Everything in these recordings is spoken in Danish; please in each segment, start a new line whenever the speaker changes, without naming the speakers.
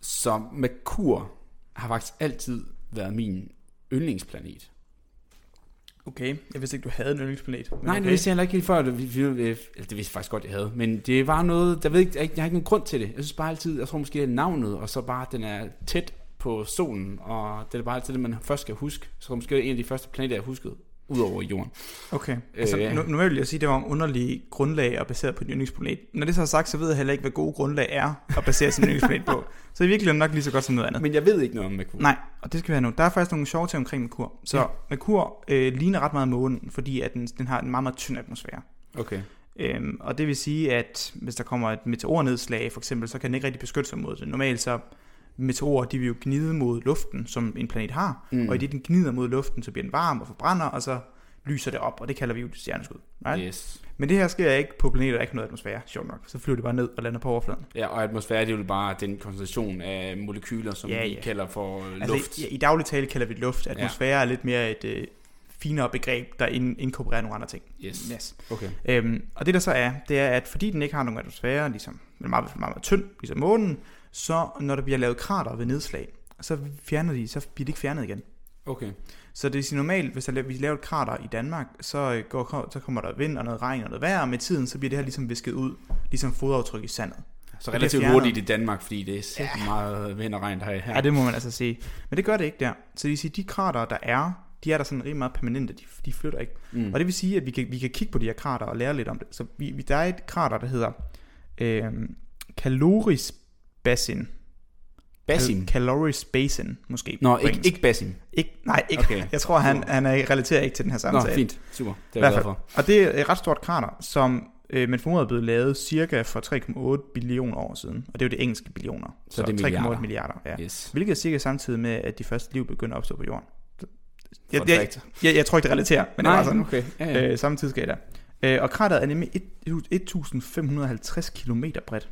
Så Merkur har faktisk altid været min yndlingsplanet.
Okay, jeg vidste ikke, du havde en yndlingsplanet. Men
Nej,
okay.
det vidste jeg heller ikke helt før. Det, vi, vi, eller det vidste jeg faktisk godt, jeg havde. Men det var noget, der ved ikke, jeg, ikke- jeg har ikke nogen grund til det. Jeg synes bare altid, jeg tror måske, det er navnet, og så bare, at den er tæt på solen, og det er bare altid det, man først skal huske. Så måske det er en af de første planeter, jeg huskede, ud over jorden.
Okay, altså
Øh, ja.
øh, nu, nu vil jeg sige, at det var om underlige grundlag og baseret på din yndlingsplanet. Når det så er sagt, så ved jeg heller ikke, hvad gode grundlag er at basere sin yndlingsplanet på. Så i virkeligheden nok lige så godt som noget andet.
Men jeg ved ikke noget om Merkur.
Nej, og det skal vi have nu. Der er faktisk nogle sjove ting omkring Merkur. Så
Ja.
ja. Merkur øh, ligner ret meget månen, fordi at den, den har en meget, meget tynd atmosfære.
Okay.
Øhm, og det vil sige, at hvis der kommer et meteornedslag for eksempel, så kan den ikke rigtig beskytte sig mod det. Normalt så meteorer, de vil jo gnide mod luften, som en planet har.
Mm.
Mm. Og i det, den gnider mod luften, så bliver den varm og forbrænder, og så lyser det op, og det kalder vi jo et stjerneskud. Right? Yeah.
Yes.
Men det her sker ikke på planeter, der ikke har noget atmosfære, sjovt nok. Så flyver det bare ned og lander på overfladen.
Ja, og atmosfære, det er jo bare den koncentration af molekyler, som ja,
Ja,
ja. vi
ja.
kalder for altså, luft.
Altså, i, i daglig tale kalder vi det luft. Atmosfære ja. er lidt mere et øh, finere begreb, der ind, inkorporerer nogle andre ting.
Yes.
Yes.
Okay.
Øhm, og det der så er, det er, at fordi den ikke har nogen atmosfære, ligesom, men meget, meget, meget tynd, ligesom månen, så når der bliver lavet krater ved nedslag, så, fjerner de, så bliver de ikke fjernet igen.
Okay.
Så det vil sige normalt, hvis der la- vi laver et krater i Danmark, så, øh, går, så kommer der vind og noget regn og noget vejr, og med tiden så bliver det her ligesom visket ud, ligesom fodaftryk i sandet.
Så
Det er
relativt
fjernet.
hurtigt i Danmark, fordi det er sæt meget vind og regn, der er her.
Ja, det må man altså sige. Men det gør det ikke der. Så det vil sige, de krater, der er, de er der sådan rimelig meget permanente, de, de flytter ikke.
Mm.
Mm. Og det vil sige, at vi kan, vi kan kigge på de her krater og lære lidt om det. Så vi, vi, der er et krater, der hedder øh, Caloris Basin.
Basim.
Cal- Caloris Basin, måske.
Nå,
på
ikke,
engelsk.
ikke Basim.
ikke. Nej, ikke.
Okay.
Okay. Jeg tror, han, han er, relaterer ikke til den her
Nå,
samtale.
fint. Super. Det
I
er jeg
hvert
glad
fald.
for.
Og det er et ret stort krater, som øh, man formoder er blevet lavet cirka for 3,8 billioner år siden. Og det er jo det engelske billioner.
Så det er milliarder.
3,8 milliarder, ja.
Yes.
Hvilket er cirka samtidig med, at de første liv begynder at opstå på jorden. Jeg,
Fun
jeg,
fact.
jeg, jeg tror ikke, det relaterer, men det
Nej,
var sådan.
okay. Ja, ja.
Øh, samme tidsskala. Øh, og krateret er nemlig et- 1550 km bredt.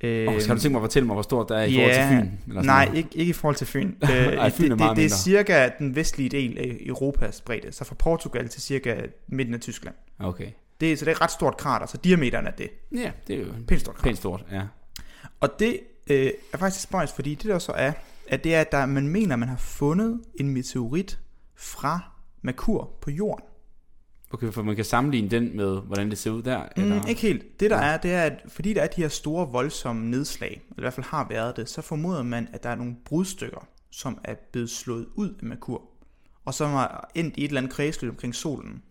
Øh,
Åh, skal du tænke mig at fortælle mig, hvor stort der er i
ja,
forhold til Fyn? Eller sådan
Nej,
noget?
ikke, ikke i forhold til Fyn. Øh,
Ej, Fyn er meget
det, det, det er
mindre.
cirka den vestlige del af Europas bredde, så fra Portugal til cirka midten af Tyskland.
Okay.
Det, er- så det er et ret stort krater, så diameteren er det.
Ja, det er jo en
Pænt stort krater.
pænt stort. Ja.
Og det øh, er faktisk spøjs, fordi det der så er, at det er, at der, man mener, man har fundet en meteorit fra Merkur på jorden.
Okay, for man kan sammenligne den med, hvordan det ser ud der.
Mm,
eller?
ikke helt. Det der
Ja.
er, det er, at fordi der er de her store voldsomme nedslag, eller i hvert fald har været det, så formoder man, at der er nogle brudstykker, som er blevet slået ud af Merkur, og som har endt i et eller andet kredsløb omkring solen.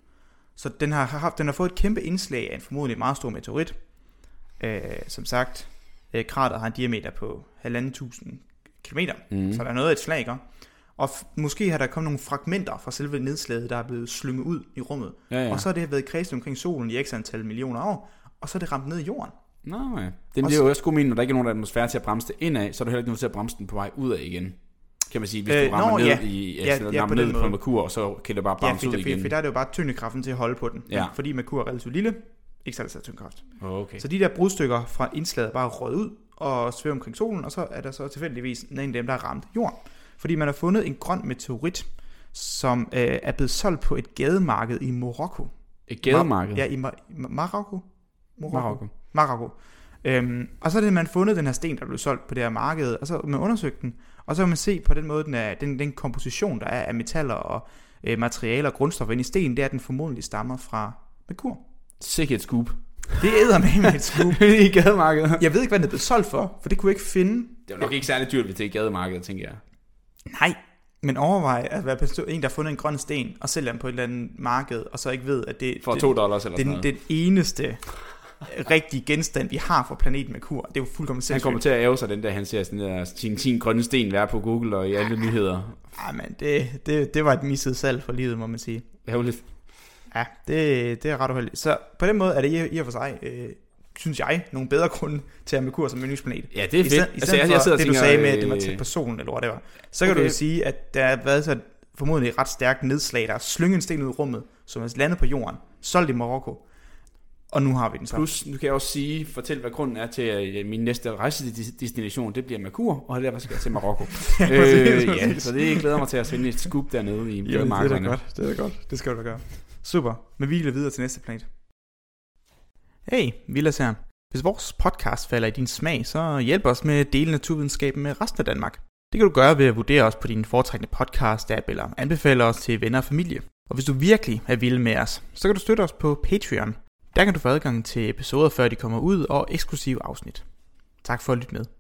Så den har, haft, den har fået et kæmpe indslag af en formodentlig meget stor meteorit. Øh, som sagt, øh, krateret har en diameter på 1.500 kilometer,
Mm.
mm. så der er noget af et slag, ikke? Og f- måske har der kommet nogle fragmenter fra selve nedslaget, der er blevet slynget ud i rummet.
Ja, ja.
Og så har det her været kredset omkring solen i x antal millioner år, og så er det ramt ned i jorden.
Nå, ja. Den bliver jo også god mening, når der ikke er nogen atmosfære til at bremse det indad, så er du heller ikke nødt til at bremse den på vej udad igen. Kan man sige, hvis
Øh,
du rammer
nå,
ned
ja.
i,
Ja,
ja,
ja,
rammer
på den
ned på
måde.
en merkur, og så kan det bare
Ja,
bounce
for,
ud
for,
igen.
for der er det jo bare tyngdekraften til at holde på den,
Ja.
fordi Merkur er relativt lille, ikke særlig stor tyngdekraft.
Okay.
Så de der brudstykker fra indslaget er bare røget ud og svæver omkring solen, og så er der så tilfældigvis en af dem, der har ramt jorden. Fordi man har fundet en grøn meteorit, som øh, er blevet solgt på et gademarked i Marokko.
Et gademarked.
Ja, i Mar- Mar- Marokko.
Marokko.
Marokko. Øhm, og så er det, at man har fundet den her sten, der blev solgt på det her marked, og så har man undersøgt den, og så kan man se på den måde, den, er, den, den komposition, der er af metaller og øh, materialer og grundstoffer inde i sten, det er, at den formodentlig stammer fra Merkur.
Sikke et scoop.
Det æder med et scoop.
I gademarkedet.
Jeg ved ikke, hvad den er blevet solgt for, for det kunne jeg ikke finde.
Det er nok ikke særlig dyrt, hvis det er i gademarkedet, tænker jeg.
Nej. Men overvej at være perso- en, der har fundet en grøn sten, og sælger den på et eller andet marked, og så ikke ved, at det,
For
det,
2 dollars eller sådan
den,
noget.
den eneste rigtige genstand, vi har for planeten Merkur. Det er jo fuldkommen
Han
sindssygt.
kommer til at æve sig den der, han ser sådan der, sin, sin grønne sten være på Google og i alle
Ah.
nyheder.
Ej, men det, det, det var et misset salg for livet, må man sige.
Ærgerligt.
Ja, det, det er ret uheldigt. Så på den måde er det i, i og for sig, øh, synes jeg, nogle bedre grunde til at have Merkur som yndlingsplanet.
Ja, det er
I
fedt.
stedet, i stedet altså, jeg, for
sidder og
det, du sagde med, at det var
øh,
tæt på solen, eller whatever, så kan
Okay.
du jo sige, at der har været så et- formodentlig et ret stærkt nedslag, der har slynget en sten ud i rummet, som er landet på jorden, solgt i Marokko, og nu har vi den så.
Plus, nu kan jeg også sige, fortælle, hvad grunden er til, at øh, min næste rejsedestination, det bliver Merkur, og derfor skal jeg til Marokko.
Ja,
øh,
præcis,
ja,
præcis.
så det glæder mig til at sende et scoop dernede i
Jo, det er da
markederne.
godt, det er da godt. Det skal du da gøre. Super, men vi er videre til næste planet. Hey, Vilas her. Hvis vores podcast falder i din smag, så hjælp os med at dele naturvidenskaben med resten af Danmark. Det kan du gøre ved at vurdere os på din foretrækkende podcast-app eller anbefale os til venner og familie. Og hvis du virkelig er vild med os, så kan du støtte os på Patreon. Der kan du få adgang til episoder, før de kommer ud, og eksklusive afsnit. Tak for at lytte med.